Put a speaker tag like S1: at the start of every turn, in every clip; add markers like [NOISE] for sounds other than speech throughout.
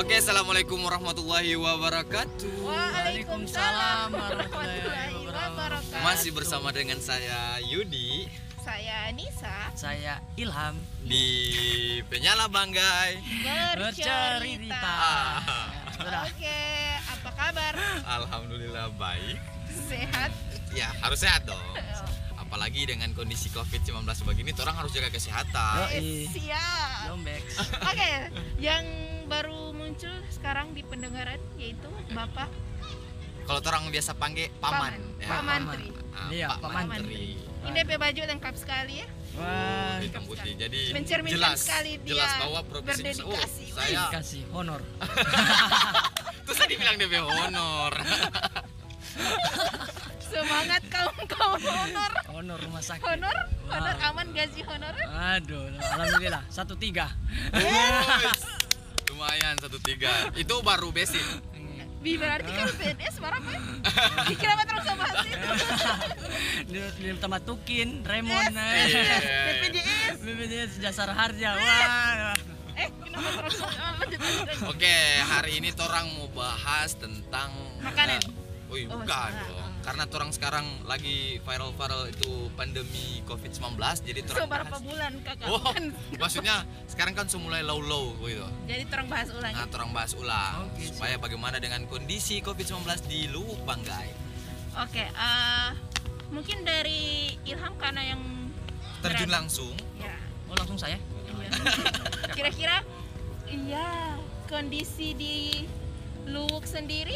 S1: Assalamualaikum warahmatullahi wabarakatuh.
S2: Waalaikumsalam warahmatullahi wabarakatuh.
S1: Masih bersama dengan saya Yudi
S2: saya Nisa
S3: Saya Ilham
S1: di Penyala Banggai.
S2: bercerita.
S3: bercerita.
S1: Ah,
S3: Sudah.
S2: Oke, apa kabar?
S1: Alhamdulillah baik.
S2: Sehat.
S1: Ya harus sehat dong. Apalagi dengan kondisi COVID-19 begini, orang harus jaga kesehatan.
S2: Eh,
S3: Yoi.
S2: Siap.
S3: Dombek.
S2: Oke, yang baru muncul sekarang di pendengaran yaitu Bapak
S1: Kalau orang biasa panggil paman.
S2: Paman.
S1: Ya,
S2: ya, Pak Mantri.
S1: Ah,
S3: Iya,
S1: Pak
S3: Pak
S1: Mantri.
S2: Ini DP baju lengkap sekali ya.
S3: Wah,
S1: Hitam putih. Jadi
S2: Mencerminkan
S1: jelas,
S2: sekali dia
S1: jelas bahwa profesinya oh,
S2: berdedikasi.
S1: saya
S3: dikasih honor.
S1: terus tadi bilang DP
S2: [LAUGHS]
S1: honor.
S2: Semangat kaum-kaum honor.
S3: Honor rumah sakit.
S2: Honor, honor
S3: Wah.
S2: aman gaji honor.
S3: Aduh, alhamdulillah. Satu tiga.
S1: Wes, Lumayan satu tiga. Itu baru basic.
S2: Bi berarti kan PNS berapa? Dikira apa terus sama [LAUGHS] itu?
S3: Di, di tempat Tukin, Raymond.
S1: Iya.
S3: eh.
S2: BPJS.
S3: BPJS dasar harja. Wah.
S2: Eh, kenapa terus
S3: [LAUGHS]
S2: sama lanjut lanjut.
S1: Oke, hari ini torang mau bahas tentang
S2: Makanan.
S1: Nah, Wih,
S2: Oh,
S1: bukan
S2: masalah.
S1: dong. Karena torang sekarang lagi viral-viral itu pandemi COVID-19, jadi
S2: So,
S1: torang
S2: berapa
S1: bahas.
S2: bulan kakak?
S1: Oh,
S2: Kan.
S1: maksudnya sekarang kan semulai low-low gitu.
S2: Jadi terang bahas ulang.
S1: Nah, torang bahas ulang
S3: Oke,
S1: supaya bagaimana dengan kondisi COVID-19 di Luwuk Banggai.
S3: Ah.
S2: Oke, eh, mungkin dari Ilham karena yang
S1: Terjun
S2: berada-
S1: langsung.
S2: Ya,
S3: Oh, langsung saya.
S2: iya. [LAUGHS] Kira-kira, iya kondisi di Luwuk sendiri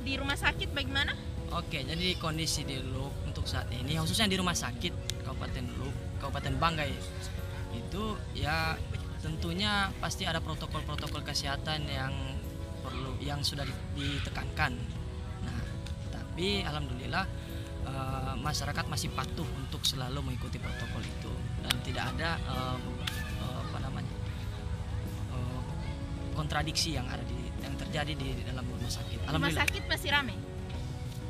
S2: di rumah sakit bagaimana?
S3: Oke, jadi kondisi di Luk untuk saat ini khususnya di rumah sakit Kabupaten Luk, Kabupaten Banggai itu ya tentunya pasti ada protokol-protokol kesehatan yang perlu yang sudah di- ditekankan. Nah, tapi alhamdulillah eh, masyarakat masih patuh untuk selalu mengikuti protokol itu dan tidak ada eh, eh, apa namanya eh, kontradiksi yang ada di yang terjadi di, di dalam rumah sakit.
S2: Rumah
S3: Alhamdulillah
S2: sakit masih rame?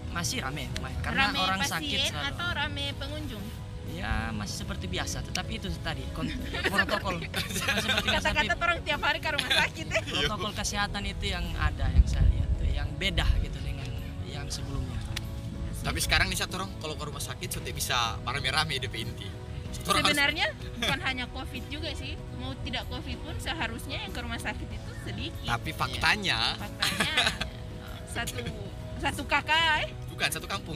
S3: masih rame Mai. karena
S2: rame
S3: orang sakit
S2: pasien
S3: selalu.
S2: atau rame pengunjung?
S3: ya masih seperti biasa tetapi itu tadi kon-
S2: [LAUGHS]
S3: protokol seperti biasa, tapi
S2: Kata-kata orang tiap hari ke rumah
S3: [LAUGHS]
S2: sakit ya.
S3: protokol kesehatan itu yang ada yang saya lihat tuh, yang beda gitu dengan yang sebelumnya Oh,
S2: Iya.
S1: Tapi sekarang nih satu orang kalau ke rumah sakit sudah bisa rame-rame DP inti. Torang harus-
S2: Sebenarnya bukan hanya COVID juga sih, mau tidak COVID pun seharusnya yang ke rumah sakit itu sedikit.
S1: Tapi faktanya
S2: Faktanya satu satu kakak. eh.
S1: bukan satu kampung.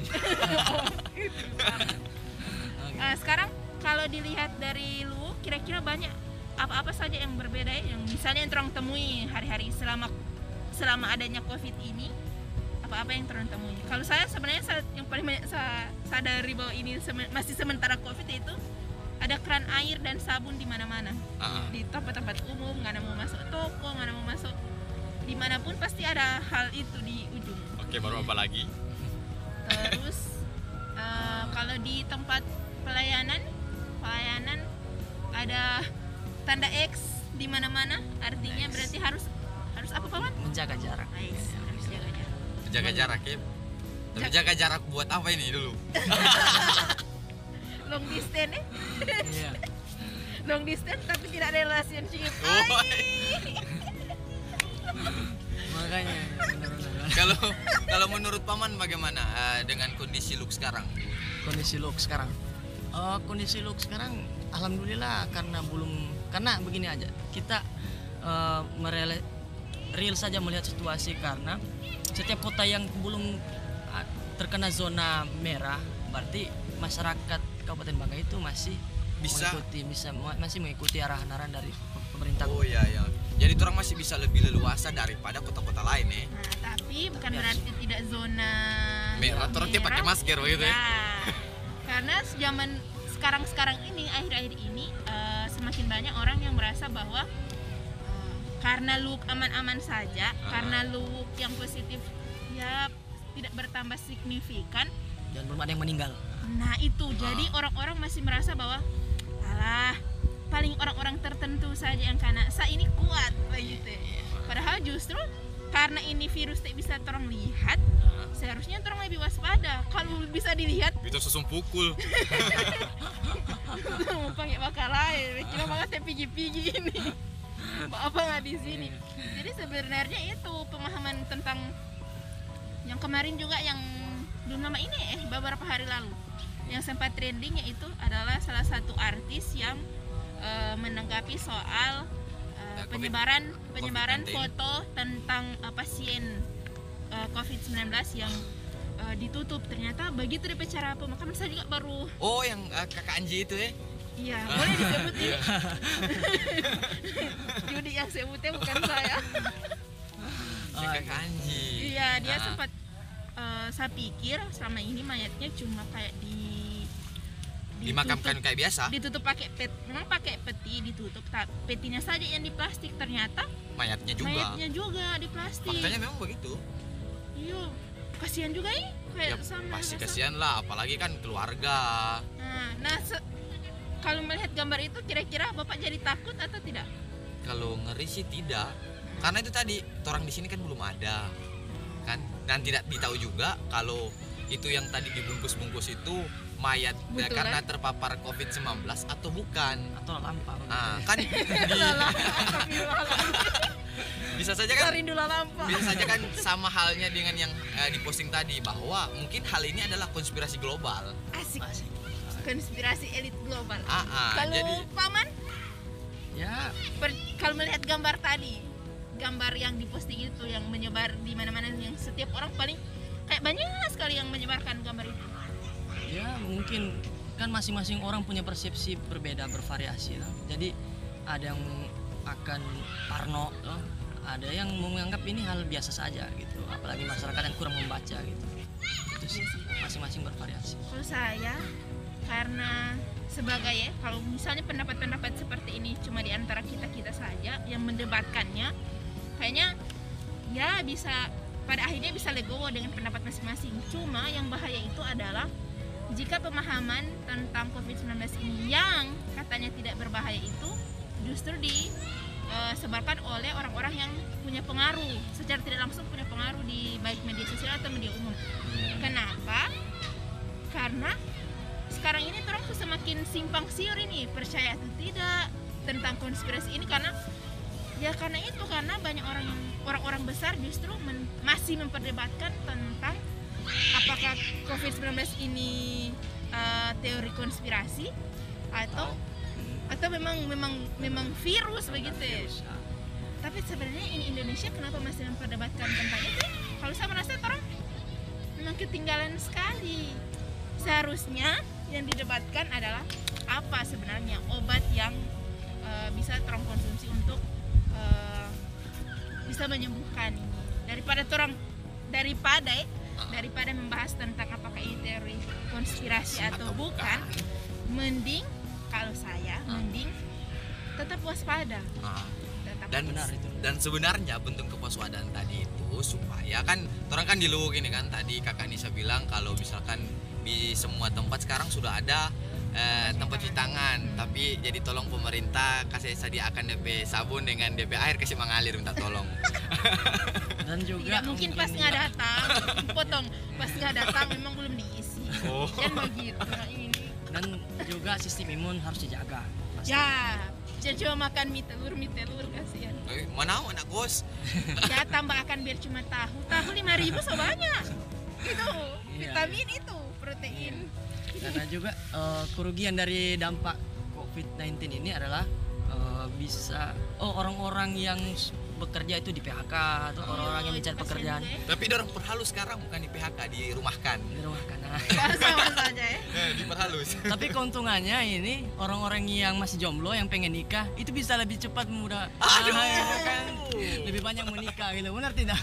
S1: [LAUGHS]
S3: Oke.
S2: Eh, sekarang kalau dilihat dari lu, kira-kira banyak apa-apa saja yang berbeda ya? Yang misalnya yang terang temui hari-hari selama selama adanya COVID ini apa-apa yang terang temui. Kalau saya sebenarnya sa- yang paling banyak saya sadari bahwa ini semen- masih sementara COVID itu ada keran air dan sabun di mana-mana.
S1: Ah.
S2: di tempat-tempat umum nggak ada mau masuk toko nggak ada mau masuk dimanapun pasti ada hal itu di ujung
S1: Oke, baru apa lagi?
S2: terus [LAUGHS] eh, kalau di tempat pelayanan pelayanan ada tanda X di mana-mana artinya
S3: X.
S2: berarti harus harus apa paman
S3: menjaga jarak
S2: Nah, X harus jaga jarak
S1: Jaga jarak ya. Tapi
S2: Jak-
S1: jaga jarak buat apa ini dulu? [LAUGHS]
S2: long distance eh?
S3: Iya.
S2: long distance tapi tidak ada relationship
S1: Woi,
S3: makanya benar-benar.
S1: Kalau kalau menurut paman bagaimana eh, dengan kondisi look sekarang?
S3: kondisi look sekarang Eh, kondisi look sekarang alhamdulillah karena belum karena begini aja kita eh, merele real saja melihat situasi karena setiap kota yang belum ah, terkena zona merah berarti masyarakat Kabupaten Bangka itu masih
S1: Bisa.
S3: mengikuti bisa ma- masih mengikuti arahan-arahan dari pe- pemerintah
S1: Oh iya ya. Jadi orang masih bisa lebih leluasa daripada kota-kota lain ya.
S2: nah, tapi bukan
S3: Tapi harus-
S2: berarti tidak zona
S1: Merah terus dia pakai
S2: merah.
S1: masker begitu ya.
S2: Ya, karena zaman sekarang-sekarang ini, akhir-akhir ini eh, semakin banyak orang yang merasa bahwa eh, karena lu aman-aman saja,
S1: Ah.
S2: karena lu yang positif ya tidak bertambah signifikan.
S3: dan belum ada yang meninggal
S2: Nah itu, jadi orang-orang masih merasa bahwa alah paling orang-orang tertentu saja yang kena. Saya ini kuat, begitu. Padahal justru karena ini virus tidak bisa terong lihat, seharusnya terong lebih waspada. Kalau bisa dilihat
S1: Itu susum pukul.
S2: Numpang ya bakal lain, kira banget saya pigi-pigi ini apa nggak di sini
S1: Iya.
S2: jadi sebenarnya itu pemahaman tentang yang kemarin juga yang belum lama ini eh beberapa hari lalu yang sempat trending yaitu adalah salah satu artis yang eh, menanggapi soal eh,
S1: Eh, COVID-
S2: penyebaran penyebaran
S1: COVID-19.
S2: foto tentang eh, pasien eh, COVID-19 yang eh, ditutup ternyata begitu dari cara pemakaman saya juga baru
S1: Oh, yang eh, kakak Anji itu ya?
S2: iya
S1: [LAUGHS]
S2: boleh disebut ini Judi yang sebutnya bukan saya
S1: [LAUGHS] Yang kakak Anji.
S2: Oh, Iya, dia
S1: Ah.
S2: sempat eh, saya pikir selama ini mayatnya cuma kayak di
S1: dimakamkan
S2: ditutup-
S1: kan kayak biasa.
S2: ditutup pakai pet, memang pakai peti ditutup, tak petinya saja yang di plastik ternyata
S1: Mayatnya juga.
S2: mayatnya juga di plastik.
S1: Faktanya memang begitu.
S2: Iya, kasihan juga ih
S1: Ya,
S2: kayak sama
S1: pasti
S2: rasa-
S1: kasihan lah, apalagi kan keluarga.
S2: Nah, nah, se- kalau melihat gambar itu kira-kira Bapak jadi takut atau
S1: [LAUGHS]
S2: tidak?
S1: Kalau ngeri sih tidak, karena itu tadi orang di sini kan belum ada, kan? Dan tidak ditahu juga kalau itu yang tadi dibungkus-bungkus itu mayat eh,
S2: Betulan.
S1: karena terpapar COVID-19 atau bukan.
S3: atau lampau gitu.
S1: Ah,
S2: [LAUGHS]
S1: kan di-
S2: Lalah,
S1: [LAUGHS]
S2: astagfirullahaladzim.
S1: bisa saja kan
S2: Rindu lalampa.
S1: bisa saja kan sama halnya dengan yang eh, diposting tadi bahwa mungkin hal ini adalah konspirasi global.
S2: Asik. Konspirasi elit global.
S1: Ah, ah, jadi
S2: Kalau paman
S3: ya
S2: Per- kalau melihat gambar tadi gambar yang diposting itu yang menyebar di mana-mana yang setiap orang paling kayak banyak sekali yang menyebarkan gambar itu
S3: ya mungkin kan masing-masing orang punya persepsi berbeda bervariasi lah. jadi ada yang akan parno toh. ada yang menganggap ini hal biasa saja gitu apalagi masyarakat yang kurang membaca gitu itu sih masing-masing bervariasi
S2: kalau saya karena sebagai ya kalau misalnya pendapat-pendapat seperti ini cuma di antara kita kita saja yang mendebatkannya kayaknya ya bisa pada akhirnya bisa legowo dengan pendapat masing-masing cuma yang bahaya itu adalah jika pemahaman tentang COVID-19 ini yang katanya tidak berbahaya itu justru disebarkan oleh orang-orang yang punya pengaruh secara tidak langsung punya pengaruh di baik media sosial atau media umum Kenapa? Karena sekarang ini orang tuh semakin simpang siur ini percaya atau tidak tentang konspirasi ini karena ya karena itu karena banyak orang yang orang-orang besar justru men- masih memperdebatkan tentang apakah COVID-19 ini eh, teori konspirasi atau atau memang memang memang virus begitu ya.
S3: Terus, ah,
S2: Tapi sebenarnya ini Indonesia kenapa masih memperdebatkan tentang itu? Kalau saya merasa orang memang ketinggalan sekali. Seharusnya yang didebatkan adalah apa sebenarnya obat yang eh, bisa terong konsumsi untuk eh, bisa menyembuhkan ini. Daripada terong daripada eh, daripada membahas tentang apakah ini teori konspirasi atau bukan, mending kalau saya mending tetap waspada.
S1: Ah.
S2: Tetap
S1: dan
S3: Benar itu.
S1: dan sebenarnya bentuk kewaspadaan tadi itu supaya kan orang kan di Luwuk ini kan tadi kakak Nisa bilang kalau misalkan di semua tempat sekarang sudah ada eh, tempat cuci tangan tapi jadi tolong pemerintah kasih sediakan DP sabun dengan DP air kasih mengalir minta tolong
S3: dan juga
S2: Tidak mungkin pas nggak datang, potong pas nggak datang memang belum diisi.
S1: [LAUGHS] Oh.
S2: Dan begitu nah ini.
S3: dan juga sistem imun harus dijaga pasti.
S2: Ya, jangan cuma makan mie telur, mie telur kasihan.
S1: Eh, mana mau anak kos
S2: Ya tambah akan biar cuma tahu, tahu lima ribu so banyak. Itu
S3: Iya.
S2: vitamin itu, protein.
S3: karena juga eh, kerugian dari dampak COVID-19 ini adalah eh, bisa oh orang-orang yang s- bekerja itu di PHK atau
S2: Oh,
S3: orang-orang yang
S2: itu
S3: mencari
S2: kasihan
S3: pekerjaan
S2: juga ya.
S1: tapi dorong perhalus sekarang bukan di PHK dirumahkan
S3: di rumah karena
S2: Sama saja ya.
S1: eh, diperhalus
S3: tapi keuntungannya ini orang-orang yang masih jomblo yang pengen nikah itu bisa lebih cepat mudah
S1: [LAUGHS] Aduh.
S3: Ah, ya kan? lebih banyak menikah gitu benar tidak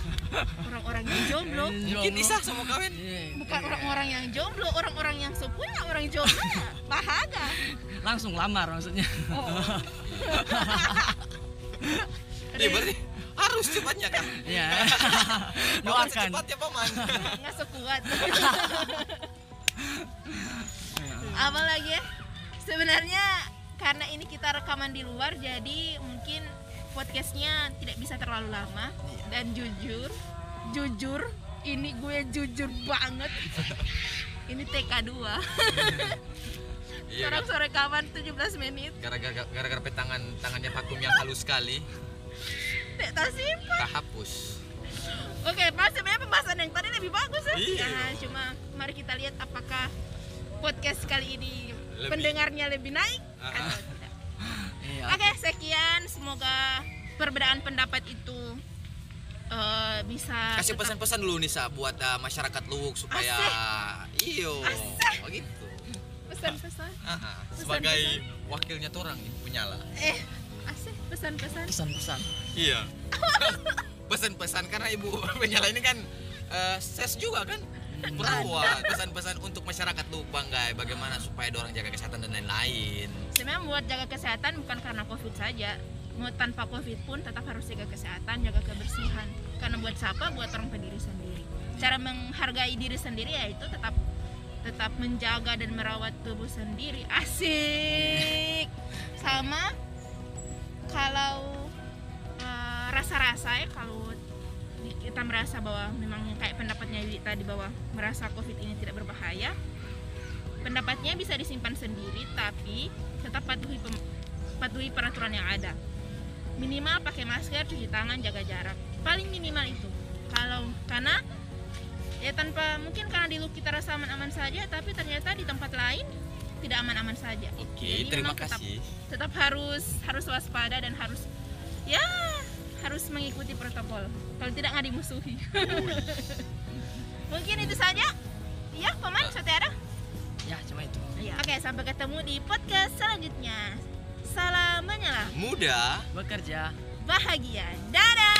S2: Orang-orang yang jomblo
S1: mungkin Nisa sama kawin
S3: Iya.
S2: bukan orang-orang yang jomblo, orang-orang yang sepunya orang jomblo ya bahaga.
S3: [LAUGHS] langsung lamar
S2: [LAUGHS]
S3: maksudnya
S2: Oh.
S1: Iya berarti harus cepatnya kan
S3: ya
S1: Paman
S3: doakan
S1: secepatnya
S3: [LAUGHS]
S1: paman
S2: nggak sekuat [LAUGHS] apalagi ya sebenarnya karena ini kita rekaman di luar jadi mungkin podcastnya tidak bisa terlalu lama dan jujur jujur ini gue jujur banget ini TK2
S1: Iya,
S2: sekarang sore kawan 17 menit
S1: gara-gara gara-gara petangan tangannya vakum yang halus sekali
S2: Dek tasim
S1: kahapus
S2: Oke, Mas sebenarnya pembahasan yang tadi lebih bagus ya.
S1: Iya.
S2: Nah, cuma mari kita lihat apakah podcast kali ini
S1: Lebih.
S2: pendengarnya lebih naik
S1: Ah.
S2: atau tidak.
S3: Iya.
S2: Oke, sekian. Semoga perbedaan pendapat itu eh, bisa
S1: kasih
S2: tetap-
S1: pesan-pesan dulu Nisa buat uh, masyarakat Luwuk supaya iyo begitu
S2: pesan-pesan.
S1: Ah, ah. sebagai wakilnya torang nih penyala
S2: Eh, asih pesan-pesan.
S3: pesan-pesan
S1: iya [LAUGHS] pesan-pesan karena ibu [LAUGHS] penyala ini kan eh, ses juga kan perawat pesan-pesan untuk masyarakat Luwuk Banggai bagaimana supaya dorang jaga kesehatan dan lain-lain
S2: Sebenarnya buat jaga kesehatan bukan karena Covid saja. Mau tanpa Covid pun tetap harus jaga kesehatan, jaga kebersihan. Karena buat siapa? Buat orang pendiri sendiri. Cara menghargai diri sendiri yaitu tetap tetap menjaga dan merawat tubuh sendiri. Asik. Sama kalau eh, rasa-rasa ya kalau di- kita merasa bahwa memang kayak pendapatnya Wi tadi bahwa merasa Covid ini tidak berbahaya, pendapatnya bisa disimpan sendiri tapi tetap patuhi pem- patuhi peraturan yang ada minimal pakai masker cuci tangan jaga jarak paling minimal itu kalau karena ya tanpa mungkin karena di look kita rasa aman-aman saja tapi ternyata di tempat lain tidak aman-aman saja
S1: oke
S2: Jadi
S1: terima
S2: memang tetap-
S1: kasih
S2: tetap harus harus waspada dan harus ya harus mengikuti protokol kalau tidak nggak dimusuhi [LAUGHS] mungkin itu saja ya paman sate ada
S3: ya cuma itu
S2: Oke, sampai ketemu di podcast selanjutnya. Salam menyala,
S1: muda
S3: bekerja
S2: bahagia, dadah.